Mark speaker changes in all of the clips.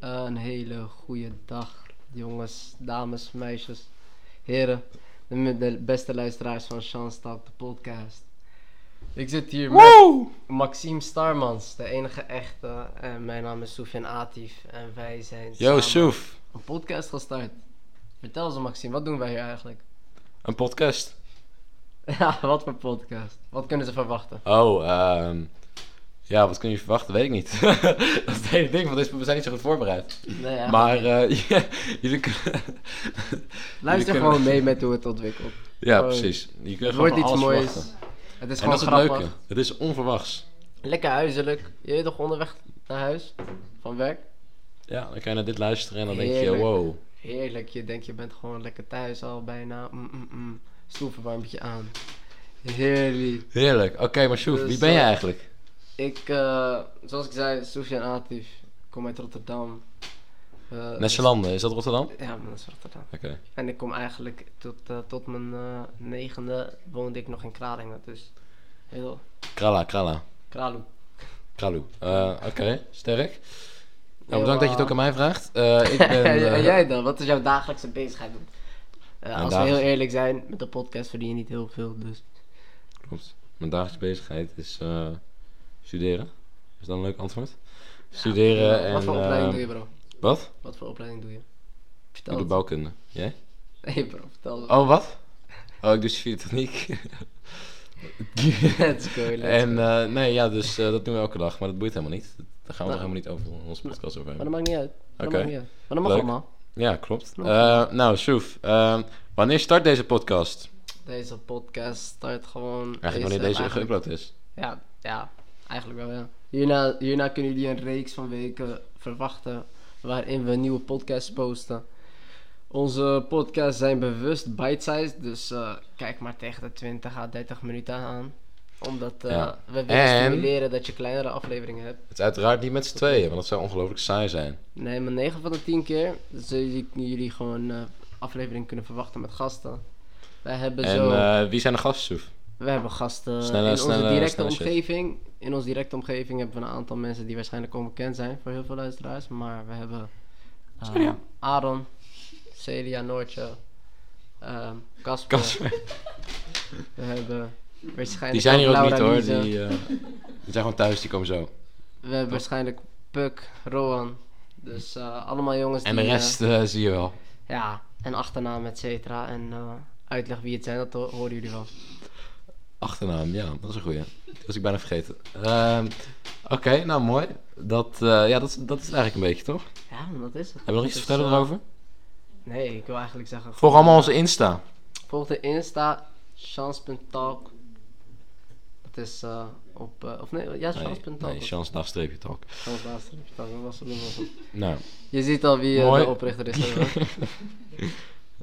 Speaker 1: een hele goede dag, jongens, dames, meisjes, heren. De, me- de beste luisteraars van Chance Talk, de podcast. Ik zit hier met Maxime Starmans, de enige echte. En mijn naam is Soufian Atif. En wij zijn
Speaker 2: Yo,
Speaker 1: samen
Speaker 2: Soef.
Speaker 1: een podcast gestart. Vertel ze, Maxime, wat doen wij hier eigenlijk?
Speaker 2: Een podcast.
Speaker 1: Ja, wat voor podcast? Wat kunnen ze verwachten?
Speaker 2: Oh, ehm ja, wat kun je verwachten? Weet ik niet. dat is het hele ding, want deze- we zijn niet zo goed voorbereid.
Speaker 1: Nee, ja.
Speaker 2: Maar eh, ja, jullie kunnen...
Speaker 1: Luister
Speaker 2: kunnen-
Speaker 1: gewoon mee met hoe het ontwikkelt.
Speaker 2: ja,
Speaker 1: Oh.
Speaker 2: precies. Je kunt
Speaker 1: Het
Speaker 2: gewoon
Speaker 1: wordt
Speaker 2: van
Speaker 1: iets
Speaker 2: alles
Speaker 1: moois.
Speaker 2: verwachten.
Speaker 1: Het is
Speaker 2: En
Speaker 1: gewoon
Speaker 2: dat is het
Speaker 1: grappig.
Speaker 2: leuke. Het is onverwachts.
Speaker 1: Lekker huiselijk. Je bent toch onderweg naar huis? Van werk?
Speaker 2: Ja, dan kan je naar dit luisteren en dan denk
Speaker 1: Heerlijk.
Speaker 2: je, wow.
Speaker 1: Heerlijk. Je denkt, je bent gewoon lekker thuis al bijna. Mm, mm, mm. Stoelverwarmtje aan. Heerlijk.
Speaker 2: Heerlijk. Oké, maar Soef,
Speaker 1: Dus,
Speaker 2: wie ben je
Speaker 1: eh,
Speaker 2: eigenlijk?
Speaker 1: Ik, eh, zoals ik zei, Sofian Atif. Ik kom uit Rotterdam. Eh,
Speaker 2: Nesselanden, is dat Rotterdam?
Speaker 1: dus- Ja, maar dat is Rotterdam.
Speaker 2: Oké.
Speaker 1: En ik kom eigenlijk tot, eh, tot mijn eh, negende woonde ik nog in Kralingen. Dus heel
Speaker 2: Krala, Krala.
Speaker 1: Kralu.
Speaker 2: Kralu. Eh, Oké, sterk.
Speaker 1: Heel,
Speaker 2: Nou, bedankt dat je het ook aan mij vraagt. Eh, ik ben...
Speaker 1: en,
Speaker 2: eh,
Speaker 1: jij dan? Wat is jouw dagelijkse bezigheid? Eh, als we
Speaker 2: dagelijks-
Speaker 1: heel eerlijk zijn, met de podcast verdien je niet heel veel. Dus
Speaker 2: Klopt. Mijn dagelijkse bezigheid is eh, studeren. Is dat een leuk antwoord? Studeren en...
Speaker 1: Wat voor
Speaker 2: eh,
Speaker 1: opleiding doe je, bro?
Speaker 2: Wat?
Speaker 1: Wat voor opleiding doe je?
Speaker 2: Ik
Speaker 1: Vertel
Speaker 2: doe
Speaker 1: het.
Speaker 2: bouwkunde. Jij?
Speaker 1: Nee, bro, vertel het.
Speaker 2: Oh, wat? Oh, ik doe studietechniek.
Speaker 1: Let's go, let's
Speaker 2: en
Speaker 1: go.
Speaker 2: eh, nee, ja, dus eh, dat doen we elke dag. Maar dat boeit helemaal niet. Daar gaan we
Speaker 1: Nou.
Speaker 2: nog helemaal niet over in onze podcast over
Speaker 1: Maar
Speaker 2: hebben.
Speaker 1: dat maakt niet uit. Maar dat
Speaker 2: Oké.
Speaker 1: maakt niet uit. Maar dat mag
Speaker 2: Leuk.
Speaker 1: allemaal.
Speaker 2: Ja, klopt.
Speaker 1: Nog.
Speaker 2: Eh, nou, Soef. eh, wanneer start deze podcast?
Speaker 1: Deze podcast start gewoon...
Speaker 2: Eigenlijk
Speaker 1: is,
Speaker 2: wanneer
Speaker 1: eh,
Speaker 2: deze
Speaker 1: eigenlijk-
Speaker 2: geüpload is.
Speaker 1: Ja, ja, eigenlijk wel, ja. Hierna, hierna kunnen jullie een reeks van weken verwachten waarin we nieuwe podcasts posten. Onze podcasts zijn bewust bite-sized, dus eh, kijk maar tegen de 20 à 30 minuten aan. Omdat eh,
Speaker 2: Ja.
Speaker 1: we willen
Speaker 2: En-
Speaker 1: stimuleren dat je kleinere afleveringen hebt.
Speaker 2: Het is uiteraard niet met z'n tweeën, want dat zou ongelooflijk saai zijn.
Speaker 1: Nee, maar 9 van de 10 keer zullen jullie- jullie gewoon eh afleveringen kunnen verwachten met gasten. Wij hebben
Speaker 2: En
Speaker 1: zo...
Speaker 2: eh, wie zijn de gasten, Soef?
Speaker 1: We hebben gasten
Speaker 2: Snelle-
Speaker 1: in
Speaker 2: snelle-
Speaker 1: onze directe
Speaker 2: snelle shit.
Speaker 1: omgeving. In onze directe omgeving hebben we een aantal mensen die waarschijnlijk onbekend zijn voor heel veel luisteraars. Maar we hebben eh, Aaron, Celia Noortje, ehm, Casper.
Speaker 2: Casper.
Speaker 1: We hebben waarschijnlijk
Speaker 2: Die zijn hier ook niet
Speaker 1: Laura
Speaker 2: hoor. Die,
Speaker 1: Liese.
Speaker 2: eh, die zijn gewoon thuis, die komen zo.
Speaker 1: We hebben waarschijnlijk Puk, Roan. Dus eh, allemaal jongens
Speaker 2: En de
Speaker 1: die... eh,
Speaker 2: rest eh, zie je wel.
Speaker 1: ja, en achternaam, et cetera. En eh, uitleg wie het zijn, dat ho- horen jullie wel.
Speaker 2: Achternaam, ja, dat is een goeie. Dat was ik bijna vergeten. Ehm, Oké, nou mooi. Dat, eh, ja, dat, is- dat is het eigenlijk een beetje, toch?
Speaker 1: Ja, man, dat is het.
Speaker 2: Hebben we nog iets te
Speaker 1: Dus,
Speaker 2: vertellen
Speaker 1: eh,
Speaker 2: erover?
Speaker 1: Nee, ik wil eigenlijk zeggen...
Speaker 2: Volg allemaal onze Insta.
Speaker 1: Volg de Insta, chance.talk. Het is eh, op, eh, of nee, ja,
Speaker 2: Nee,
Speaker 1: chance.talk.
Speaker 2: nee chance dagstreepje talk.
Speaker 1: Chance laatste, dat was het, dat was het.
Speaker 2: Nou,
Speaker 1: Je ziet al wie eh,
Speaker 2: Mooi.
Speaker 1: de oprichter is. hoor.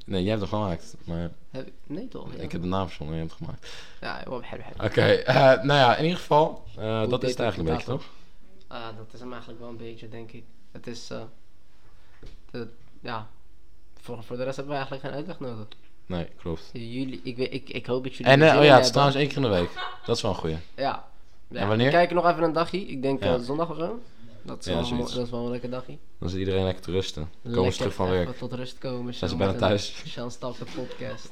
Speaker 2: nee, jij hebt hem gemaakt, maar
Speaker 1: Heb ik- nee toch? Ja,
Speaker 2: ik heb de naam verzonnen en jij hebt hem gemaakt.
Speaker 1: ja joh, heb- heb-
Speaker 2: Oké, eh, nou ja, in ieder geval, eh, dat
Speaker 1: deed
Speaker 2: is het eigenlijk een
Speaker 1: het
Speaker 2: beetje, toch?
Speaker 1: Ah, dat is hem eigenlijk wel een beetje, denk ik. Het is, eh, de- ja, voor, voor de rest hebben we eigenlijk geen uitleg nodig.
Speaker 2: Nee, klopt.
Speaker 1: Jullie, ik, weet- ik, ik hoop dat jullie
Speaker 2: En
Speaker 1: er
Speaker 2: eh,
Speaker 1: zin
Speaker 2: oh
Speaker 1: in
Speaker 2: ja, het
Speaker 1: hebben.
Speaker 2: is trouwens één keer in de week. Dat is wel een goeie.
Speaker 1: Ja. ja.
Speaker 2: En wanneer?
Speaker 1: We kijken nog even een dagje. Ik denk
Speaker 2: Ja.
Speaker 1: eh, zondag of zo. Dat is,
Speaker 2: Ja,
Speaker 1: wel, een mo-
Speaker 2: zoiets.
Speaker 1: dat is wel een lekker dagje.
Speaker 2: Dan zit iedereen lekker te rusten. Dan komen
Speaker 1: Lekker
Speaker 2: ze terug van
Speaker 1: even
Speaker 2: werk.
Speaker 1: tot rust komen.
Speaker 2: Zijn ze
Speaker 1: zo
Speaker 2: bijna
Speaker 1: met een
Speaker 2: thuis?
Speaker 1: Chance Talk de podcast.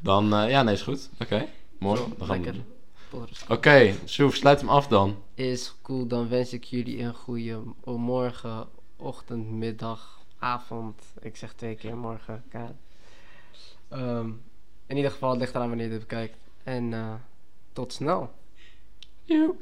Speaker 2: Dan, eh, ja, nee, is goed. Oké, mooi.
Speaker 1: Zo,
Speaker 2: Dan gaan we
Speaker 1: lekker.
Speaker 2: doen.
Speaker 1: Tot rust.
Speaker 2: Oké, Soef, sluit hem af dan.
Speaker 1: Is cool, dan wens ik jullie een goede morgen, ochtend, middag, avond. Ik zeg twee keer morgen, Kaat. Ehm, in ieder geval, het ligt eraan wanneer je dit bekijkt. En eh, tot snel.